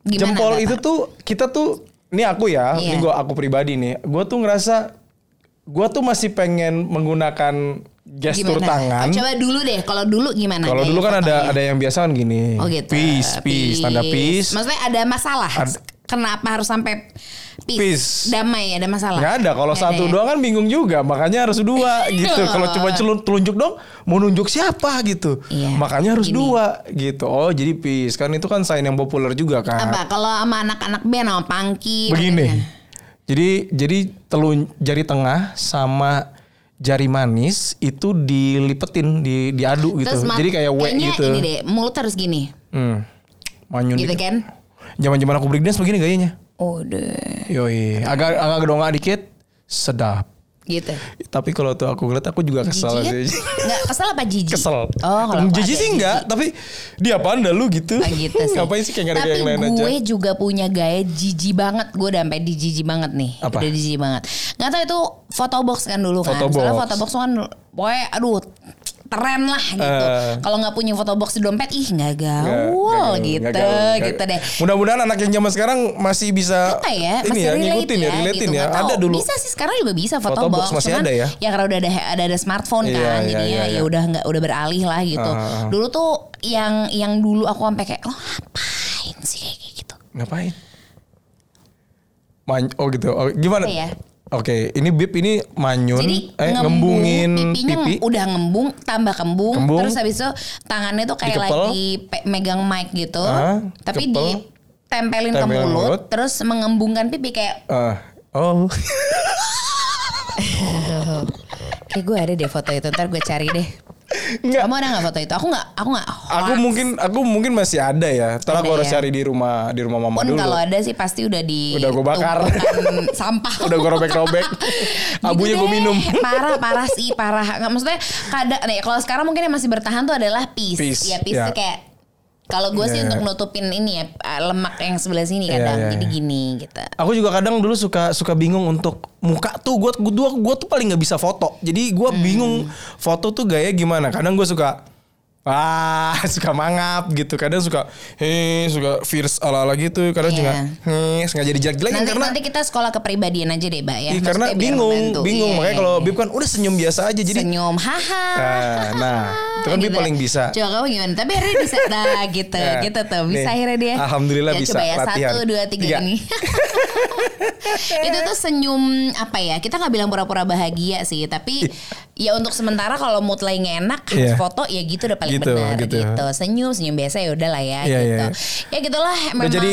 [SPEAKER 1] jempol
[SPEAKER 2] Bapak?
[SPEAKER 1] itu tuh kita tuh ini aku ya, ini
[SPEAKER 2] Iya.
[SPEAKER 1] gua aku pribadi nih. Gua tuh ngerasa gua tuh masih pengen menggunakan gestur
[SPEAKER 2] Gimana?
[SPEAKER 1] tangan.
[SPEAKER 2] Oh, coba dulu deh, kalau dulu gimana?
[SPEAKER 1] Kalau
[SPEAKER 2] gaya
[SPEAKER 1] dulu kan ada
[SPEAKER 2] fotonya?
[SPEAKER 1] ada yang biasa kan gini.
[SPEAKER 2] Oh gitu.
[SPEAKER 1] Peace, peace, tanda peace.
[SPEAKER 2] Maksudnya ada masalah.
[SPEAKER 1] Ad-
[SPEAKER 2] Kenapa harus sampai peace?
[SPEAKER 1] Peace.
[SPEAKER 2] Damai ada masalah.
[SPEAKER 1] Nggak ada kalau
[SPEAKER 2] Nggak
[SPEAKER 1] satu
[SPEAKER 2] ya? Iya.
[SPEAKER 1] doang kan bingung juga, makanya harus dua gitu. Kalau cuma celu- telunjuk dong, mau nunjuk siapa gitu.
[SPEAKER 2] Iya.
[SPEAKER 1] Makanya harus
[SPEAKER 2] Gini.
[SPEAKER 1] dua gitu. Oh, jadi peace kan itu kan sign yang populer juga kan.
[SPEAKER 2] Apa kalau sama anak-anak band sama Pangki
[SPEAKER 1] begini. gitu. Jadi jadi telun jari tengah sama jari manis itu dilipetin di diadu gitu.
[SPEAKER 2] Terus mat-
[SPEAKER 1] jadi kayak W
[SPEAKER 2] kayaknya
[SPEAKER 1] gitu.
[SPEAKER 2] ini deh, mulut harus gini.
[SPEAKER 1] Hmm. Manyun
[SPEAKER 2] Gitu kan?
[SPEAKER 1] Zaman-zaman aku breakdance begini gayanya.
[SPEAKER 2] Oh deh.
[SPEAKER 1] Yoi, agak agak gedonga dikit sedap.
[SPEAKER 2] Gitu.
[SPEAKER 1] Tapi kalau tuh aku ngeliat aku juga kesel
[SPEAKER 2] Jijik?
[SPEAKER 1] sih.
[SPEAKER 2] Enggak kesel apa jijik?
[SPEAKER 1] Kesel.
[SPEAKER 2] Oh, kalau aku
[SPEAKER 1] Jijik
[SPEAKER 2] ada
[SPEAKER 1] sih enggak, tapi dia apaan dah lu gitu.
[SPEAKER 2] Ah, gitu sih.
[SPEAKER 1] Ngapain sih kayak gak ada
[SPEAKER 2] Tapi
[SPEAKER 1] kayak yang lain aja.
[SPEAKER 2] gue juga punya gaya jijik banget. Gue udah sampai di jijik banget nih.
[SPEAKER 1] Apa?
[SPEAKER 2] Udah jijik banget. Gak tau itu photo box kan dulu kan.
[SPEAKER 1] Photo
[SPEAKER 2] Soalnya
[SPEAKER 1] box.
[SPEAKER 2] photo box kan pokoknya aduh tren lah gitu.
[SPEAKER 1] Eh.
[SPEAKER 2] Kalau nggak punya photo box di dompet ih nggak gaul
[SPEAKER 1] Nggak- nggak-
[SPEAKER 2] gitu,
[SPEAKER 1] nggak gaul, nggak-
[SPEAKER 2] gitu deh.
[SPEAKER 1] Mudah-mudahan anak yang zaman sekarang masih bisa
[SPEAKER 2] Apa ya?
[SPEAKER 1] ini
[SPEAKER 2] Masih
[SPEAKER 1] ya,
[SPEAKER 2] relate
[SPEAKER 1] ngikutin ya, relatein
[SPEAKER 2] gitu,
[SPEAKER 1] ya.
[SPEAKER 2] nggak tahu.
[SPEAKER 1] Ada dulu.
[SPEAKER 2] Bisa sih sekarang juga bisa photo,
[SPEAKER 1] Photo box
[SPEAKER 2] box.
[SPEAKER 1] masih
[SPEAKER 2] Cuman
[SPEAKER 1] ada ya?
[SPEAKER 2] karena udah ada ada ada smartphone
[SPEAKER 1] Iya,
[SPEAKER 2] kan
[SPEAKER 1] iya,
[SPEAKER 2] jadinya
[SPEAKER 1] iya, iya.
[SPEAKER 2] ya udah nggak udah beralih lah gitu.
[SPEAKER 1] Ah.
[SPEAKER 2] Dulu tuh yang yang dulu aku sampai kayak lo ngapain sih kayak gitu.
[SPEAKER 1] Ngapain? Man- oh gitu. Oh, gimana?
[SPEAKER 2] Apa ya?
[SPEAKER 1] Oke, ini bib ini manyun
[SPEAKER 2] Jadi
[SPEAKER 1] eh
[SPEAKER 2] ngembung,
[SPEAKER 1] ngembungin
[SPEAKER 2] pipinya
[SPEAKER 1] pipi.
[SPEAKER 2] ngem- udah ngembung, tambah kembung,
[SPEAKER 1] Kembung.
[SPEAKER 2] terus habis itu tangannya tuh kayak
[SPEAKER 1] Dikepel.
[SPEAKER 2] lagi pe- megang mic gitu,
[SPEAKER 1] Ah,
[SPEAKER 2] tapi
[SPEAKER 1] kepel.
[SPEAKER 2] ditempelin ke
[SPEAKER 1] Tempelin
[SPEAKER 2] mulut,
[SPEAKER 1] mulut.
[SPEAKER 2] terus mengembungkan pipi kayak
[SPEAKER 1] Ah, oh.
[SPEAKER 2] kayak gue ada deh foto itu, ntar gue cari deh.
[SPEAKER 1] Enggak.
[SPEAKER 2] Kamu ada nggak foto itu? Aku nggak, aku nggak.
[SPEAKER 1] Aku mungkin aku mungkin masih ada ya. Ntar aku
[SPEAKER 2] Ada
[SPEAKER 1] harus
[SPEAKER 2] ya.
[SPEAKER 1] cari di rumah di rumah mama
[SPEAKER 2] Pun
[SPEAKER 1] dulu.
[SPEAKER 2] kalau ada sih pasti udah di
[SPEAKER 1] Udah gua bakar.
[SPEAKER 2] tumpukan sampah.
[SPEAKER 1] Udah gue robek-robek.
[SPEAKER 2] Gitu
[SPEAKER 1] Abunya gue
[SPEAKER 2] deh.
[SPEAKER 1] minum.
[SPEAKER 2] parah parah sih parah nggak maksudnya kadang nih kalau sekarang mungkin yang masih bertahan tuh adalah peace,
[SPEAKER 1] Peace,
[SPEAKER 2] ya peace
[SPEAKER 1] ya.
[SPEAKER 2] tuh kayak kalau gue sih
[SPEAKER 1] Ya.
[SPEAKER 2] untuk nutupin ini ya eh, lemak yang sebelah sini
[SPEAKER 1] Ya,
[SPEAKER 2] kadang
[SPEAKER 1] ya,
[SPEAKER 2] jadi
[SPEAKER 1] ya.
[SPEAKER 2] gini gitu
[SPEAKER 1] Aku juga kadang dulu suka suka bingung untuk muka tuh gue
[SPEAKER 2] Hmm.
[SPEAKER 1] gue tuh paling nggak bisa foto. Jadi gue bingung foto tuh gaya gimana. Kadang gue suka wah suka mangap gitu kadang suka heh suka fierce ala ala gitu kadang
[SPEAKER 2] Iya.
[SPEAKER 1] juga heh sengaja dijelek jelekin
[SPEAKER 2] Nanti,
[SPEAKER 1] Iya, karena
[SPEAKER 2] nanti kita sekolah kepribadian aja deh, Mbak ya.
[SPEAKER 1] Ih, karena
[SPEAKER 2] Maksudnya biar membantu.
[SPEAKER 1] bingung bingung
[SPEAKER 2] Iya,
[SPEAKER 1] makanya
[SPEAKER 2] iya,
[SPEAKER 1] kalau
[SPEAKER 2] iya.
[SPEAKER 1] Bib kan udah senyum biasa aja jadi
[SPEAKER 2] senyum, haha.
[SPEAKER 1] Nah, nah, itu kan dia
[SPEAKER 2] ya.
[SPEAKER 1] paling bisa.
[SPEAKER 2] Coba kamu gimana? Tapi akhirnya bisa, nah gitu,
[SPEAKER 1] Ya.
[SPEAKER 2] gitu tuh, bisa
[SPEAKER 1] Nih,
[SPEAKER 2] akhirnya dia.
[SPEAKER 1] alhamdulillah
[SPEAKER 2] ya,
[SPEAKER 1] bisa,
[SPEAKER 2] Coba ya
[SPEAKER 1] latihan.
[SPEAKER 2] satu, dua, tiga,
[SPEAKER 1] Tiga.
[SPEAKER 2] ini. itu tuh senyum apa ya? Kita nggak bilang pura-pura bahagia sih, tapi ya untuk sementara kalau mood lagi nggak enak
[SPEAKER 1] Iya.
[SPEAKER 2] foto ya gitu udah paling
[SPEAKER 1] Gitu,
[SPEAKER 2] benar
[SPEAKER 1] gitu.
[SPEAKER 2] gitu. Senyum, senyum biasa ya udahlah ya
[SPEAKER 1] Iya,
[SPEAKER 2] gitu.
[SPEAKER 1] iya.
[SPEAKER 2] Ya gitulah
[SPEAKER 1] Udah
[SPEAKER 2] memang.
[SPEAKER 1] jadi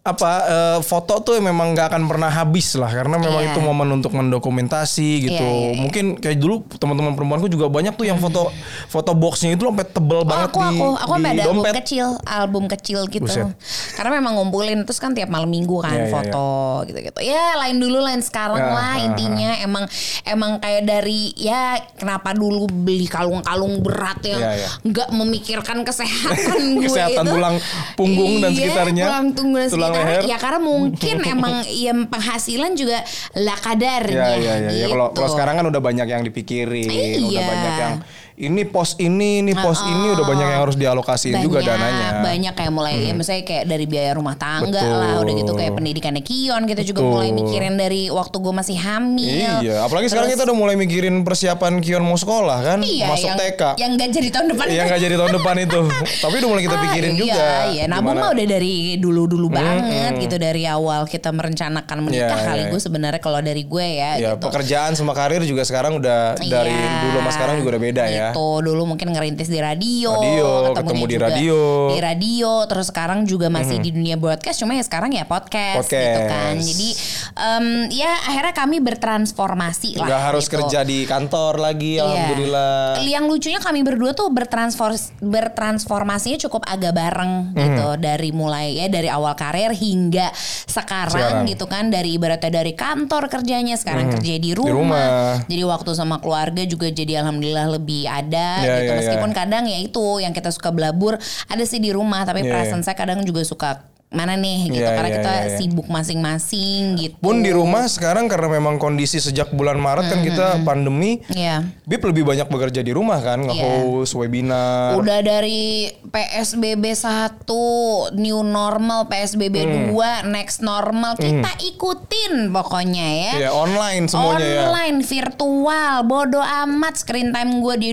[SPEAKER 1] apa eh, foto tuh memang nggak akan pernah habis lah karena memang
[SPEAKER 2] Iya.
[SPEAKER 1] itu momen untuk mendokumentasi gitu.
[SPEAKER 2] Iya, iya, iya.
[SPEAKER 1] Mungkin kayak dulu teman-teman perempuanku juga banyak tuh yang foto foto boxnya itu sampai tebel
[SPEAKER 2] Oh,
[SPEAKER 1] banget
[SPEAKER 2] aku,
[SPEAKER 1] di,
[SPEAKER 2] aku aku
[SPEAKER 1] di
[SPEAKER 2] sampai ada album
[SPEAKER 1] dompet.
[SPEAKER 2] kecil album kecil gitu
[SPEAKER 1] Buset.
[SPEAKER 2] karena memang ngumpulin terus kan tiap malam minggu kan
[SPEAKER 1] Iya, iya,
[SPEAKER 2] foto gitu gitu ya lain dulu lain sekarang
[SPEAKER 1] Ya,
[SPEAKER 2] lah
[SPEAKER 1] ah,
[SPEAKER 2] intinya emang emang kayak dari ya kenapa dulu beli kalung-kalung berat yang
[SPEAKER 1] Iya, iya.
[SPEAKER 2] nggak memikirkan kesehatan gue
[SPEAKER 1] Kesehatan
[SPEAKER 2] itu.
[SPEAKER 1] tulang punggung dan
[SPEAKER 2] Iya,
[SPEAKER 1] sekitarnya.
[SPEAKER 2] tulang punggung
[SPEAKER 1] Tulang
[SPEAKER 2] dan sekitarnya
[SPEAKER 1] leher.
[SPEAKER 2] ya karena mungkin emang yang penghasilan juga lah
[SPEAKER 1] Ya,
[SPEAKER 2] kadarnya
[SPEAKER 1] ya, ya, ya.
[SPEAKER 2] gitu.
[SPEAKER 1] Kalau kalau sekarang kan udah banyak yang dipikirin, udah
[SPEAKER 2] Iya. Ah,
[SPEAKER 1] banyak yang ini pos ini, ini pos ini udah banyak yang harus dialokasiin juga dananya.
[SPEAKER 2] banyak kayak mulai ya misalnya kayak dari biaya rumah tangga
[SPEAKER 1] Betul.
[SPEAKER 2] lah udah gitu kayak pendidikannya Kion kita juga
[SPEAKER 1] Betul.
[SPEAKER 2] mulai mikirin dari waktu gue masih hamil
[SPEAKER 1] Iya, apalagi sekarang kita udah mulai mikirin persiapan Kion mau sekolah kan,
[SPEAKER 2] Iya,
[SPEAKER 1] masuk
[SPEAKER 2] yang,
[SPEAKER 1] TK.
[SPEAKER 2] yang gak jadi tahun depan
[SPEAKER 1] Iya nggak jadi tahun depan itu. Tapi udah mulai kita pikirin
[SPEAKER 2] Ah, iya,
[SPEAKER 1] juga.
[SPEAKER 2] Iya, nabung
[SPEAKER 1] gimana-
[SPEAKER 2] mah udah dari dulu-dulu banget gitu dari awal kita merencanakan menikah
[SPEAKER 1] Iya,
[SPEAKER 2] kali
[SPEAKER 1] iya.
[SPEAKER 2] gue sebenarnya kalau dari gue ya,
[SPEAKER 1] Ya
[SPEAKER 2] gitu.
[SPEAKER 1] pekerjaan sama karir juga sekarang udah dari
[SPEAKER 2] Iya,
[SPEAKER 1] dulu sama sekarang juga udah beda ya.
[SPEAKER 2] Gitu, dulu mungkin ngerintis di radio,
[SPEAKER 1] Radio,
[SPEAKER 2] ketemunya
[SPEAKER 1] ketemu di
[SPEAKER 2] juga
[SPEAKER 1] radio. Mm-hmm.
[SPEAKER 2] Di radio, terus sekarang juga masih di dunia broadcast, cuma ya sekarang ya podcast, gitu
[SPEAKER 1] Podcast.
[SPEAKER 2] kan. Jadi em, ya akhirnya kami bertransformasi lah.
[SPEAKER 1] Gak harus
[SPEAKER 2] gitu.
[SPEAKER 1] kerja di kantor lagi,
[SPEAKER 2] Iya.
[SPEAKER 1] alhamdulillah.
[SPEAKER 2] Yang lucunya kami berdua tuh bertransfor bertransformasinya cukup agak bareng gitu dari mulai ya dari awal karir hingga sekarang,
[SPEAKER 1] Sekarang.
[SPEAKER 2] gitu kan dari ibaratnya dari kantor kerjanya sekarang kerja di rumah.
[SPEAKER 1] rumah.
[SPEAKER 2] Jadi waktu sama keluarga juga jadi alhamdulillah lebih ada
[SPEAKER 1] Iya,
[SPEAKER 2] gitu
[SPEAKER 1] iya,
[SPEAKER 2] meskipun
[SPEAKER 1] iya.
[SPEAKER 2] kadang ya itu yang kita suka belabur ada sih di rumah tapi
[SPEAKER 1] Iya,
[SPEAKER 2] perasaan saya kadang juga suka mana nih gitu
[SPEAKER 1] Iya,
[SPEAKER 2] karena
[SPEAKER 1] iya,
[SPEAKER 2] kita
[SPEAKER 1] iya, iya.
[SPEAKER 2] sibuk masing-masing gitu.
[SPEAKER 1] Pun di rumah sekarang karena memang kondisi sejak bulan Maret kan kita
[SPEAKER 2] Mm-hmm.
[SPEAKER 1] pandemi,
[SPEAKER 2] Iya.
[SPEAKER 1] Bib lebih banyak bekerja di rumah kan, nge-host, webinar.
[SPEAKER 2] Udah dari PSBB 1, new normal, PSBB
[SPEAKER 1] Hmm.
[SPEAKER 2] 2, next normal kita ikutin pokoknya ya.
[SPEAKER 1] Ya online semuanya ya.
[SPEAKER 2] Online, virtual, bodo amat screen time gue di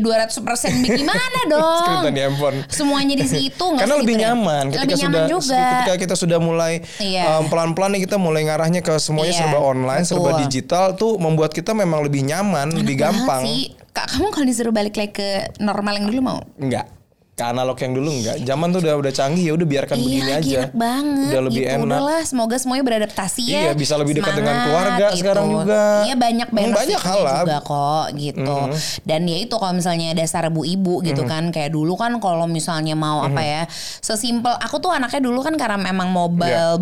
[SPEAKER 2] 200% gimana dong?
[SPEAKER 1] Screen time di handphone.
[SPEAKER 2] Semuanya di situ nggak
[SPEAKER 1] Karena
[SPEAKER 2] sih
[SPEAKER 1] lebih
[SPEAKER 2] gitu ya?
[SPEAKER 1] nyaman ketika
[SPEAKER 2] Lebih nyaman
[SPEAKER 1] sudah
[SPEAKER 2] juga.
[SPEAKER 1] ketika kita sudah mulai
[SPEAKER 2] Iya.
[SPEAKER 1] um, pelan-pelan nih kita mulai ngarahnya ke semuanya
[SPEAKER 2] Iya,
[SPEAKER 1] serba online, serba
[SPEAKER 2] betul.
[SPEAKER 1] digital tuh membuat kita memang lebih nyaman, lebih
[SPEAKER 2] Banget
[SPEAKER 1] gampang.
[SPEAKER 2] sih. Kak, kamu kalau disuruh balik lagi ke normal yang dulu mau?
[SPEAKER 1] Enggak. Ke analog yang dulu enggak. Zaman tuh udah udah canggih ya udah biarkan begini
[SPEAKER 2] Iya. lagi
[SPEAKER 1] aja.
[SPEAKER 2] enak banget.
[SPEAKER 1] Udah lebih
[SPEAKER 2] gitu.
[SPEAKER 1] enak.
[SPEAKER 2] Udahlah, semoga semuanya beradaptasi ya.
[SPEAKER 1] Iya, bisa lebih dekat dengan
[SPEAKER 2] Semangat,
[SPEAKER 1] keluarga sekarang juga.
[SPEAKER 2] Iya, banyak
[SPEAKER 1] Hmm,
[SPEAKER 2] banyak
[SPEAKER 1] banyak hal lah. Hmm.
[SPEAKER 2] juga kok gitu. Dan ya itu kalau misalnya dasar bu ibu gitu kan kayak dulu kan kalau misalnya mau apa
[SPEAKER 1] Hmm.
[SPEAKER 2] ya, sesimpel aku tuh anaknya dulu kan karena memang mobile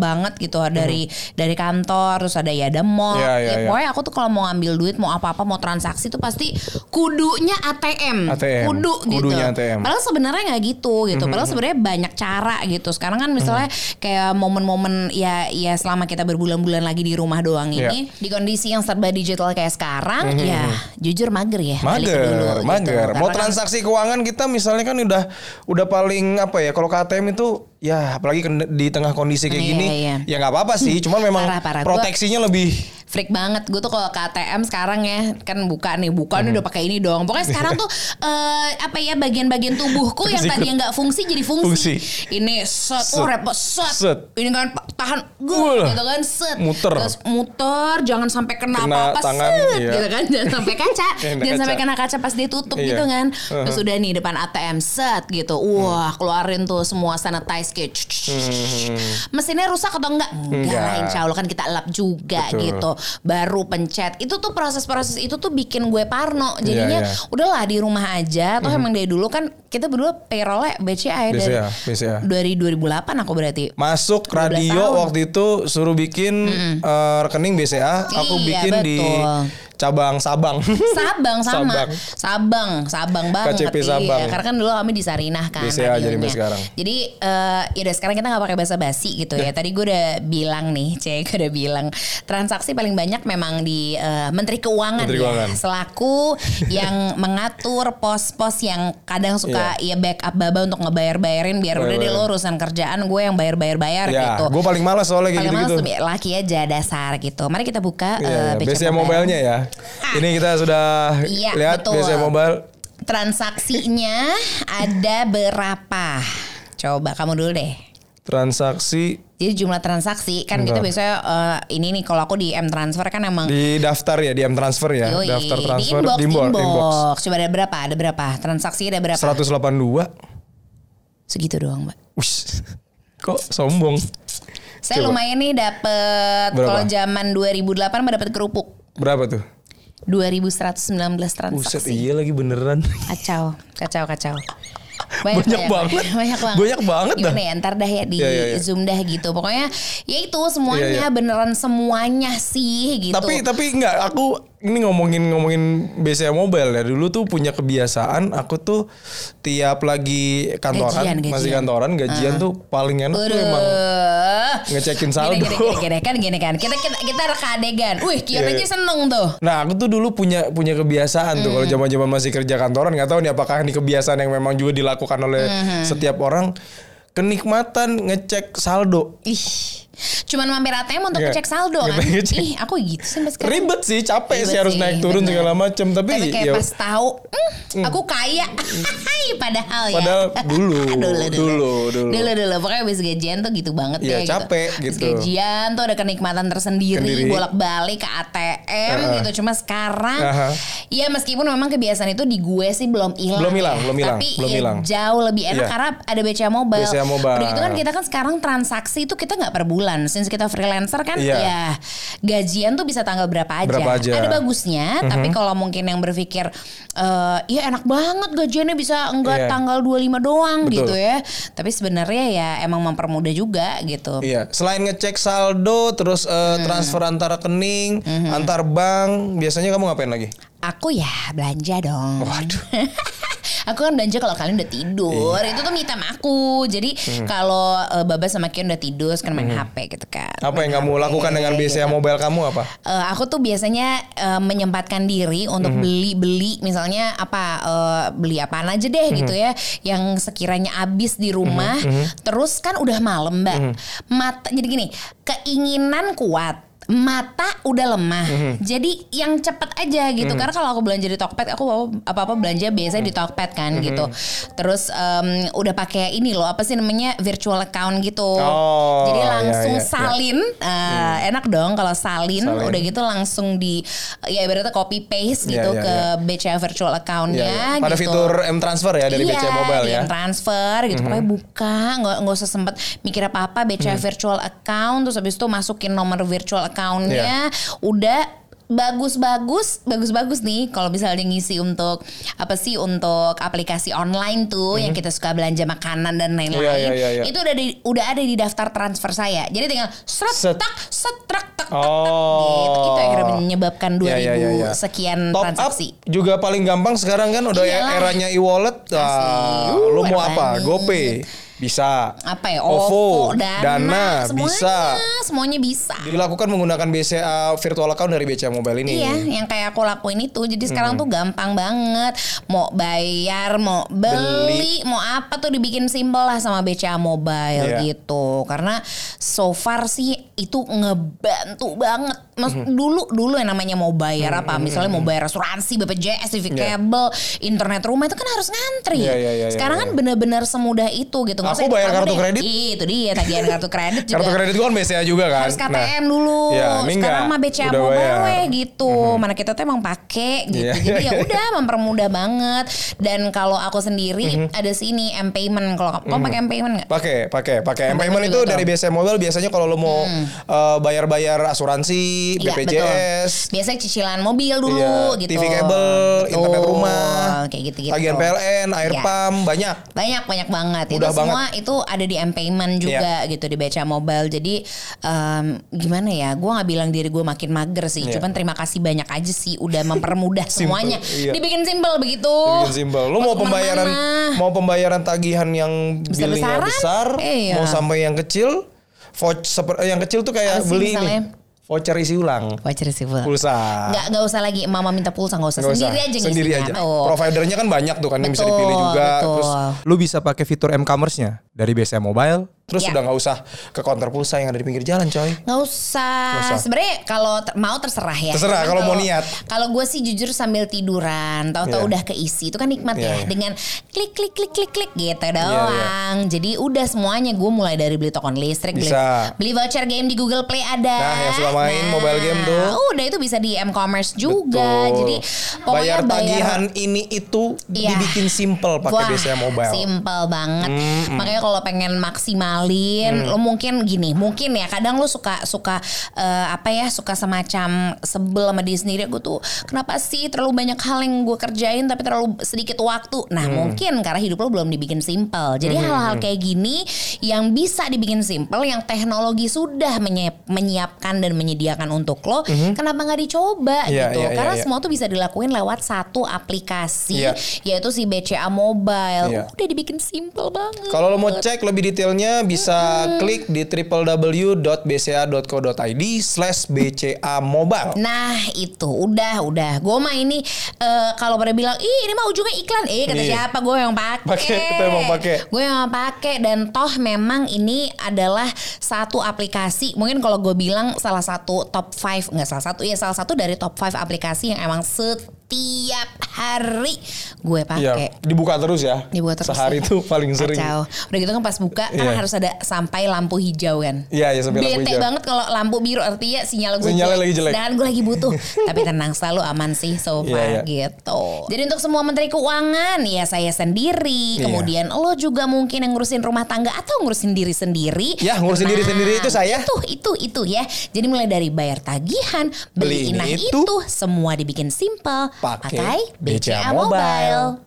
[SPEAKER 1] Iya.
[SPEAKER 2] banget gitu dari dari kantor terus ada ya ada mall.
[SPEAKER 1] Hmm. Iya, iya,
[SPEAKER 2] ya,
[SPEAKER 1] iya.
[SPEAKER 2] pokoknya aku tuh kalau mau ngambil duit, mau apa-apa, mau transaksi tuh pasti kudunya ATM.
[SPEAKER 1] ATM.
[SPEAKER 2] Kudu gitu.
[SPEAKER 1] Kudunya ATM.
[SPEAKER 2] Padahal sebenarnya nggak gitu
[SPEAKER 1] Mm-hmm,
[SPEAKER 2] gitu. Padahal sebenarnya banyak cara gitu. Sekarang kan misalnya kayak momen-momen ya ya selama kita berbulan-bulan lagi di rumah doang
[SPEAKER 1] Iya.
[SPEAKER 2] ini di kondisi yang serba digital kayak sekarang ya jujur mager ya. balik
[SPEAKER 1] Mm-hmm, Mager,
[SPEAKER 2] dulu gitu.
[SPEAKER 1] mager. Mau
[SPEAKER 2] Karena kan-
[SPEAKER 1] transaksi keuangan kita misalnya kan udah udah paling apa ya? Kalau KTM itu ya apalagi kend- di tengah kondisi kayak
[SPEAKER 2] Iya,
[SPEAKER 1] gini
[SPEAKER 2] iya.
[SPEAKER 1] ya nggak apa-apa sih. Cuman memang
[SPEAKER 2] Parah, parah. Gua-
[SPEAKER 1] proteksinya lebih
[SPEAKER 2] freak banget gue tuh kalau ke ATM sekarang ya kan buka nih buka nih udah
[SPEAKER 1] Hmm.
[SPEAKER 2] pakai ini dong pokoknya sekarang tuh eh, apa ya bagian-bagian tubuhku yang tadi nggak fungsi jadi
[SPEAKER 1] Fungsi.
[SPEAKER 2] fungsi, ini set, oh
[SPEAKER 1] Set.
[SPEAKER 2] repot set.
[SPEAKER 1] Set.
[SPEAKER 2] ini kan pa- tahan
[SPEAKER 1] Wah.
[SPEAKER 2] gue gitu kan set
[SPEAKER 1] Muter.
[SPEAKER 2] terus muter jangan sampai
[SPEAKER 1] Kena
[SPEAKER 2] kena, apa-apa
[SPEAKER 1] tangan,
[SPEAKER 2] set
[SPEAKER 1] iya.
[SPEAKER 2] gitu kan jangan sampai kaca
[SPEAKER 1] Kena
[SPEAKER 2] jangan sampai
[SPEAKER 1] kaca.
[SPEAKER 2] kena kaca pas dia tutup
[SPEAKER 1] Iya.
[SPEAKER 2] gitu kan terus udah nih depan ATM set gitu wah
[SPEAKER 1] Hmm.
[SPEAKER 2] keluarin tuh semua sanitize kayak cuc, cuc, cuc, cuc. mesinnya rusak atau enggak enggak lah
[SPEAKER 1] Enggak.
[SPEAKER 2] insya Allah kan kita elap juga
[SPEAKER 1] Betul.
[SPEAKER 2] gitu baru pencet itu tuh proses-proses itu tuh bikin gue parno jadinya
[SPEAKER 1] Iya, Mhm.
[SPEAKER 2] udahlah di rumah aja toh emang dari dulu kan kita berdua payrollnya BCA ya dari
[SPEAKER 1] BCA, BCA.
[SPEAKER 2] dari 2008 aku berarti
[SPEAKER 1] Masuk
[SPEAKER 2] 12
[SPEAKER 1] radio
[SPEAKER 2] tahun.
[SPEAKER 1] waktu itu suruh bikin eh, rekening BCA, aku
[SPEAKER 2] Iya,
[SPEAKER 1] bikin di
[SPEAKER 2] betul.
[SPEAKER 1] cabang Sabang.
[SPEAKER 2] Sabang sama
[SPEAKER 1] Sabang.
[SPEAKER 2] Sabang Sabang, banget
[SPEAKER 1] KCP
[SPEAKER 2] Iya,
[SPEAKER 1] Sabang.
[SPEAKER 2] karena kan dulu kami di Sarinah kan
[SPEAKER 1] BCA jadi
[SPEAKER 2] radionya.
[SPEAKER 1] sampai sekarang.
[SPEAKER 2] jadi eh, ya udah sekarang kita nggak pakai bahasa basi gitu ya tadi gue udah bilang nih cek gue udah bilang transaksi paling banyak memang di eh, Menteri Keuangan
[SPEAKER 1] Menteri
[SPEAKER 2] ya
[SPEAKER 1] Keuangan.
[SPEAKER 2] selaku yang mengatur pos-pos yang kadang suka
[SPEAKER 1] Iya.
[SPEAKER 2] ya backup baba untuk ngebayar-bayarin biar udah deh
[SPEAKER 1] Bayar-bayarin.
[SPEAKER 2] lo urusan kerjaan gue yang bayar-bayar-bayar
[SPEAKER 1] ya,
[SPEAKER 2] gitu
[SPEAKER 1] gue paling malas soalnya kayak
[SPEAKER 2] Paling males
[SPEAKER 1] gitu-gitu.
[SPEAKER 2] tuh, laki aja dasar gitu. Mari kita buka eh,
[SPEAKER 1] Iya, iya.
[SPEAKER 2] picture
[SPEAKER 1] BCA
[SPEAKER 2] mobile.
[SPEAKER 1] mobile-nya ya. Ini kita sudah
[SPEAKER 2] Iya,
[SPEAKER 1] lihat
[SPEAKER 2] betul.
[SPEAKER 1] BCA mobile.
[SPEAKER 2] Transaksinya ada berapa? Coba kamu dulu deh.
[SPEAKER 1] transaksi
[SPEAKER 2] Jadi jumlah transaksi kan kita biasanya eh, ini nih kalau aku di M Transfer kan emang
[SPEAKER 1] di daftar ya di M transfer ya
[SPEAKER 2] yoi,
[SPEAKER 1] daftar transfer
[SPEAKER 2] di inbox,
[SPEAKER 1] inbox,
[SPEAKER 2] inbox.
[SPEAKER 1] inbox.
[SPEAKER 2] Coba ada berapa? Ada berapa? Transaksi ada berapa?
[SPEAKER 1] 182
[SPEAKER 2] Segitu doang, Mbak.
[SPEAKER 1] Wish. kok sombong
[SPEAKER 2] Saya
[SPEAKER 1] Coba.
[SPEAKER 2] lumayan nih dapat
[SPEAKER 1] Berapa?
[SPEAKER 2] kalau zaman 2008 mah dapat kerupuk.
[SPEAKER 1] berapa tuh
[SPEAKER 2] 2119 transaksi.
[SPEAKER 1] Buset iya lagi beneran
[SPEAKER 2] Kacau, kacau, kacau.
[SPEAKER 1] Banyak banget.
[SPEAKER 2] Banyak banget.
[SPEAKER 1] Banyak banget dah.
[SPEAKER 2] Gimana ya, ntar dah ya di
[SPEAKER 1] Iya, iya, iya.
[SPEAKER 2] Zoom dah gitu. Pokoknya ya itu semuanya
[SPEAKER 1] Iya, iya.
[SPEAKER 2] beneran semuanya sih gitu.
[SPEAKER 1] tapi tapi nggak aku ini ngomongin ngomongin BCA mobile ya dulu tuh punya kebiasaan aku tuh tiap lagi kantoran
[SPEAKER 2] Gajian,
[SPEAKER 1] masih
[SPEAKER 2] gajian.
[SPEAKER 1] kantoran gajian tuh paling enak tuh
[SPEAKER 2] Aduh.
[SPEAKER 1] emang ngecekin saldo.
[SPEAKER 2] Gini, gini, gini, gini, gini kan. Kita kita kita reka adegan. Wih, Kion
[SPEAKER 1] Iya,
[SPEAKER 2] aja
[SPEAKER 1] iya.
[SPEAKER 2] seneng tuh.
[SPEAKER 1] Nah, aku tuh dulu punya punya kebiasaan tuh kalau zaman-zaman masih kerja kantoran nggak tahu nih apakah ini kebiasaan yang memang juga dilakukan oleh
[SPEAKER 2] Mm-hmm.
[SPEAKER 1] setiap orang kenikmatan ngecek saldo.
[SPEAKER 2] Ih. Cuman mampir ATM untuk
[SPEAKER 1] Iya.
[SPEAKER 2] ngecek saldo kan.
[SPEAKER 1] Ngecek- ngecek.
[SPEAKER 2] Ih, aku gitu sih sampai sekarang.
[SPEAKER 1] Ribet sih, capek
[SPEAKER 2] Ribet
[SPEAKER 1] sih harus
[SPEAKER 2] sih,
[SPEAKER 1] naik turun
[SPEAKER 2] bener.
[SPEAKER 1] segala macam tapi,
[SPEAKER 2] Tapi kayak
[SPEAKER 1] ya
[SPEAKER 2] pas tahu, "Hmm, aku kaya. padahal ya.
[SPEAKER 1] Padahal dulu,
[SPEAKER 2] dulu, dulu,
[SPEAKER 1] dulu, dulu.
[SPEAKER 2] dulu, dulu. Pokoknya abis gajian tuh gitu banget
[SPEAKER 1] Iya,
[SPEAKER 2] ya. gitu.
[SPEAKER 1] capek
[SPEAKER 2] Abis
[SPEAKER 1] gitu.
[SPEAKER 2] gajian tuh ada kenikmatan tersendiri,
[SPEAKER 1] Kendiri.
[SPEAKER 2] bolak-balik ke ATM
[SPEAKER 1] Heeh.
[SPEAKER 2] gitu. Cuma sekarang,
[SPEAKER 1] Aha.
[SPEAKER 2] ya meskipun memang kebiasaan itu di gue sih belum hilang.
[SPEAKER 1] Belum
[SPEAKER 2] ya.
[SPEAKER 1] hilang, belum hilang,
[SPEAKER 2] Tapi
[SPEAKER 1] belum
[SPEAKER 2] ya
[SPEAKER 1] hilang.
[SPEAKER 2] jauh lebih enak
[SPEAKER 1] Iya.
[SPEAKER 2] karena ada BCA Mobile.
[SPEAKER 1] BCA Mobile.
[SPEAKER 2] Udah gitu kan kita kan sekarang transaksi itu kita nggak per bulan. Since kita freelancer kan,
[SPEAKER 1] Iya.
[SPEAKER 2] ya gajian tuh bisa tanggal berapa aja.
[SPEAKER 1] Berapa aja.
[SPEAKER 2] Ada bagusnya,
[SPEAKER 1] Mhm.
[SPEAKER 2] tapi kalau mungkin yang berpikir eh ya enak banget gajiannya bisa
[SPEAKER 1] Iya.
[SPEAKER 2] enggak tanggal 25 doang
[SPEAKER 1] Betul.
[SPEAKER 2] gitu ya. Tapi sebenarnya ya emang mempermudah juga gitu.
[SPEAKER 1] Iya, selain ngecek saldo, terus eh,
[SPEAKER 2] Hmm.
[SPEAKER 1] transfer antar rekening, antar bank, biasanya kamu ngapain lagi?
[SPEAKER 2] Aku ya belanja dong. Waduh. aku kan belanja kalau kalian udah tidur.
[SPEAKER 1] Iya.
[SPEAKER 2] Itu tuh mitam aku. Jadi
[SPEAKER 1] Mhm.
[SPEAKER 2] kalau eh, Baba sama Kion udah tidur, terus kan main HP gitu kan.
[SPEAKER 1] Apa yang kamu lakukan dengan
[SPEAKER 2] iya,
[SPEAKER 1] BCA mobile kamu apa?
[SPEAKER 2] Eh, aku tuh biasanya eh, menyempatkan diri untuk
[SPEAKER 1] Mhm.
[SPEAKER 2] beli-beli misalnya apa eh, beli apaan aja deh gitu
[SPEAKER 1] Mhm.
[SPEAKER 2] ya yang sekiranya habis di rumah terus kan udah malam mbak
[SPEAKER 1] Mhm.
[SPEAKER 2] mata jadi gini keinginan kuat mata udah lemah
[SPEAKER 1] Mhm.
[SPEAKER 2] jadi yang cepet aja gitu karena kalau aku belanja di Tokped aku apa apa belanja biasanya di
[SPEAKER 1] Mhm.
[SPEAKER 2] Tokped kan gitu terus em, udah pakai ini loh apa sih namanya virtual account gitu
[SPEAKER 1] Oh,
[SPEAKER 2] jadi
[SPEAKER 1] iya,
[SPEAKER 2] langsung
[SPEAKER 1] iya, iya.
[SPEAKER 2] salin eh, enak dong kalau salin,
[SPEAKER 1] Hmm. Salin.
[SPEAKER 2] udah gitu langsung di ya ibaratnya copy paste
[SPEAKER 1] Iya,
[SPEAKER 2] gitu
[SPEAKER 1] iya,
[SPEAKER 2] ke BCA virtual accountnya
[SPEAKER 1] Iya, iya. Pada
[SPEAKER 2] gitu. Iya,
[SPEAKER 1] fitur M transfer ya dari BCA mobile
[SPEAKER 2] di
[SPEAKER 1] ya. Mm-hmm.
[SPEAKER 2] transfer gitu pokoknya buka nggak nggak usah sempet mikir apa apa BCA virtual account terus habis itu masukin nomor virtual accountnya
[SPEAKER 1] Iya.
[SPEAKER 2] udah bagus-bagus bagus-bagus nih kalau misalnya ngisi untuk apa sih untuk aplikasi online tuh yang kita suka belanja makanan dan lain-lain
[SPEAKER 1] Mm-hmm. Iya, iya, iya, iya.
[SPEAKER 2] itu udah di, udah ada di daftar transfer saya jadi tinggal seret
[SPEAKER 1] Set.
[SPEAKER 2] tak setrak tak
[SPEAKER 1] Oh.
[SPEAKER 2] gitu itu akhirnya menyebabkan 2000
[SPEAKER 1] Iya, iya, iya, iya.
[SPEAKER 2] sekian
[SPEAKER 1] Top
[SPEAKER 2] transaksi
[SPEAKER 1] up juga paling gampang sekarang kan udah
[SPEAKER 2] Iyalah.
[SPEAKER 1] eranya e-wallet. Ah,
[SPEAKER 2] Asli.
[SPEAKER 1] lu
[SPEAKER 2] Uh,
[SPEAKER 1] mau
[SPEAKER 2] enak
[SPEAKER 1] apa?
[SPEAKER 2] banget.
[SPEAKER 1] GoPay bisa.
[SPEAKER 2] apa ya
[SPEAKER 1] OVO, Oh, Dana,
[SPEAKER 2] semuanya,
[SPEAKER 1] bisa.
[SPEAKER 2] semuanya bisa
[SPEAKER 1] Dilakukan menggunakan BCA virtual account dari BCA Mobile ini.
[SPEAKER 2] Iya, yang kayak aku lakuin itu. Jadi
[SPEAKER 1] Hmm.
[SPEAKER 2] sekarang tuh gampang banget. Mau bayar, mau beli, mau apa tuh dibikin simple lah sama BCA
[SPEAKER 1] Iya.
[SPEAKER 2] Mobile gitu. Karena so far sih itu ngebantu banget. Mas,
[SPEAKER 1] Hmm.
[SPEAKER 2] Dulu dulu yang namanya mau bayar apa, misalnya mau bayar asuransi, BPJS, TV
[SPEAKER 1] Iya.
[SPEAKER 2] kabel, internet rumah itu kan harus ngantri.
[SPEAKER 1] Iya, iya, iya,
[SPEAKER 2] sekarang
[SPEAKER 1] iya,
[SPEAKER 2] kan benar-benar semudah itu gitu. Nggak
[SPEAKER 1] Aku
[SPEAKER 2] usah
[SPEAKER 1] bayar
[SPEAKER 2] kamu
[SPEAKER 1] kartu
[SPEAKER 2] deh.
[SPEAKER 1] kredit.
[SPEAKER 2] Ih, Itu dia tagihan kartu kredit juga.
[SPEAKER 1] Kartu kredit gua kan BCA juga kan.
[SPEAKER 2] harus KTM dulu.
[SPEAKER 1] Iya, ini
[SPEAKER 2] Sekarang
[SPEAKER 1] enggak.
[SPEAKER 2] mah BCA
[SPEAKER 1] Udah
[SPEAKER 2] mobile
[SPEAKER 1] bayar.
[SPEAKER 2] weh gitu. Mana kita tuh emang pakai gitu.
[SPEAKER 1] Iya.
[SPEAKER 2] Jadi ya udah mempermudah banget. Dan kalau aku sendiri
[SPEAKER 1] Mm-hmm.
[SPEAKER 2] ada sini M payment. Kalau kamu pakai M payment nggak?
[SPEAKER 1] Pakai, pakai, pakai. M payment
[SPEAKER 2] juga
[SPEAKER 1] itu
[SPEAKER 2] tuh.
[SPEAKER 1] dari BCA Mobile biasanya kalau lu mau eh, bayar-bayar asuransi,
[SPEAKER 2] Hmm. Iya,
[SPEAKER 1] BPJS,
[SPEAKER 2] betul. Biasanya cicilan mobil dulu
[SPEAKER 1] iya,
[SPEAKER 2] gitu.
[SPEAKER 1] TV kabel,
[SPEAKER 2] Betul.
[SPEAKER 1] internet rumah,
[SPEAKER 2] kayak gitu-gitu.
[SPEAKER 1] tagihan PLN, air
[SPEAKER 2] Iya.
[SPEAKER 1] pump, banyak.
[SPEAKER 2] Banyak banyak banget.
[SPEAKER 1] Mudah
[SPEAKER 2] itu semua
[SPEAKER 1] banget Iya.
[SPEAKER 2] semua itu ada di M Payment juga gitu di BCA Mobile. Jadi em, gimana ya? Gua nggak bilang diri gue makin mager sih.
[SPEAKER 1] Iya.
[SPEAKER 2] Cuman terima kasih banyak aja sih udah mempermudah
[SPEAKER 1] Simple,
[SPEAKER 2] semuanya.
[SPEAKER 1] iya.
[SPEAKER 2] Dibikin simple begitu.
[SPEAKER 1] Bikin simpel. Lu mau pembayaran
[SPEAKER 2] kemana-mana.
[SPEAKER 1] mau pembayaran tagihan yang billingnya
[SPEAKER 2] Besar-besaran?
[SPEAKER 1] besar,
[SPEAKER 2] Iya.
[SPEAKER 1] mau sampai yang kecil, voucher seper- eh, yang kecil tuh kayak
[SPEAKER 2] Apa sih
[SPEAKER 1] beli
[SPEAKER 2] misalnya?
[SPEAKER 1] ini. Voucher isi ulang.
[SPEAKER 2] Voucher sih, Bu.
[SPEAKER 1] Pulsa.
[SPEAKER 2] Nggak nggak usah lagi mama minta pulsa nggak usah
[SPEAKER 1] Nggak
[SPEAKER 2] sendiri
[SPEAKER 1] usah.
[SPEAKER 2] aja
[SPEAKER 1] Sendiri
[SPEAKER 2] ngisinya.
[SPEAKER 1] aja.
[SPEAKER 2] Tuh.
[SPEAKER 1] Providernya kan banyak tuh kan yang bisa
[SPEAKER 2] Betul,
[SPEAKER 1] dipilih juga.
[SPEAKER 2] betul.
[SPEAKER 1] Terus lu bisa pakai fitur m-commerce-nya dari BCA Mobile. Terus
[SPEAKER 2] Iya.
[SPEAKER 1] udah nggak usah ke counter pulsa yang ada di pinggir jalan, coy.
[SPEAKER 2] Nggak usah.
[SPEAKER 1] Nggak usah.
[SPEAKER 2] Sebenarnya kalau ter- mau terserah ya.
[SPEAKER 1] Terserah,
[SPEAKER 2] Cuman
[SPEAKER 1] kalau mau niat.
[SPEAKER 2] Kalau gue sih jujur sambil tiduran, tahu-tahu
[SPEAKER 1] Iya.
[SPEAKER 2] udah keisi itu kan nikmat
[SPEAKER 1] Iya,
[SPEAKER 2] ya
[SPEAKER 1] iya.
[SPEAKER 2] dengan klik klik klik klik klik gitu doang.
[SPEAKER 1] iya.
[SPEAKER 2] Jadi udah semuanya gue mulai dari beli token listrik, beli,
[SPEAKER 1] Bisa.
[SPEAKER 2] beli voucher game di Google Play ada.
[SPEAKER 1] Nah, yang suka main mobile game tuh.
[SPEAKER 2] Udah itu bisa di m-commerce juga.
[SPEAKER 1] Betul.
[SPEAKER 2] Jadi pokoknya
[SPEAKER 1] bayar tagihan ini itu
[SPEAKER 2] Iya.
[SPEAKER 1] dibikin simple pakai
[SPEAKER 2] Wah,
[SPEAKER 1] BCA Mobile.
[SPEAKER 2] Simple banget. Makanya kalau pengen maksimalin,
[SPEAKER 1] Mm.
[SPEAKER 2] lo mungkin gini, mungkin ya kadang lo suka suka eh, apa ya, suka semacam sebel sama diri sendiri. Gue tuh kenapa sih terlalu banyak hal yang gue kerjain tapi terlalu sedikit waktu.
[SPEAKER 1] Mm.
[SPEAKER 2] Nah mungkin karena hidup lo belum dibikin simple. Jadi hal-hal kayak gini yang bisa dibikin simple, yang teknologi sudah menyiap- menyiapkan dan menyediakan untuk lo, kenapa nggak dicoba
[SPEAKER 1] Mm-hmm. Iya,
[SPEAKER 2] gitu?
[SPEAKER 1] iya, iya,
[SPEAKER 2] karena
[SPEAKER 1] iya.
[SPEAKER 2] semua tuh bisa dilakuin lewat satu aplikasi
[SPEAKER 1] Iya.
[SPEAKER 2] yaitu Ya, si BCA Mobile.
[SPEAKER 1] Iya.
[SPEAKER 2] Udah dibikin simple banget.
[SPEAKER 1] Kalau lo mau cek lebih detailnya bisa klik di www.bca.co.id slash BCA Mobile.
[SPEAKER 2] Nah itu udah udah gue mah ini eh, kalau pada bilang ih ini mah ujungnya iklan eh kata
[SPEAKER 1] Iya.
[SPEAKER 2] siapa gue yang pakai
[SPEAKER 1] Pakai, kita emang pakai.
[SPEAKER 2] gue yang pakai dan toh memang ini adalah satu aplikasi mungkin kalau gue bilang salah satu top 5 nggak salah satu ya salah satu dari top 5 aplikasi yang emang setiap hari gue pakai
[SPEAKER 1] Iya, dibuka terus ya.
[SPEAKER 2] Dibuka terus.
[SPEAKER 1] Sehari tuh paling sering.
[SPEAKER 2] Kacau. Udah gitu kan pas buka kan
[SPEAKER 1] Iya.
[SPEAKER 2] harus ada sampai lampu hijau kan.
[SPEAKER 1] Iya, iya, sampai lampu
[SPEAKER 2] Bete
[SPEAKER 1] hijau.
[SPEAKER 2] banget kalau lampu biru artinya sinyal gue
[SPEAKER 1] Sinyalnya lagi jelek.
[SPEAKER 2] Sedangkan gue lagi butuh. Tapi tenang selalu aman sih
[SPEAKER 1] Iya,
[SPEAKER 2] so
[SPEAKER 1] iya.
[SPEAKER 2] far gitu. Jadi untuk semua menteri keuangan ya saya sendiri.
[SPEAKER 1] Iya.
[SPEAKER 2] Kemudian lo juga mungkin yang ngurusin rumah tangga atau ngurusin diri sendiri. Nah,
[SPEAKER 1] Ya, ngurusin diri sendiri itu saya.
[SPEAKER 2] Itu itu itu ya. Jadi mulai dari bayar tagihan,
[SPEAKER 1] Beli ini,
[SPEAKER 2] beli, ini
[SPEAKER 1] itu.
[SPEAKER 2] itu, semua dibikin simpel
[SPEAKER 1] Pakai
[SPEAKER 2] pakai BCA
[SPEAKER 1] BCA Mobile.
[SPEAKER 2] Mobile.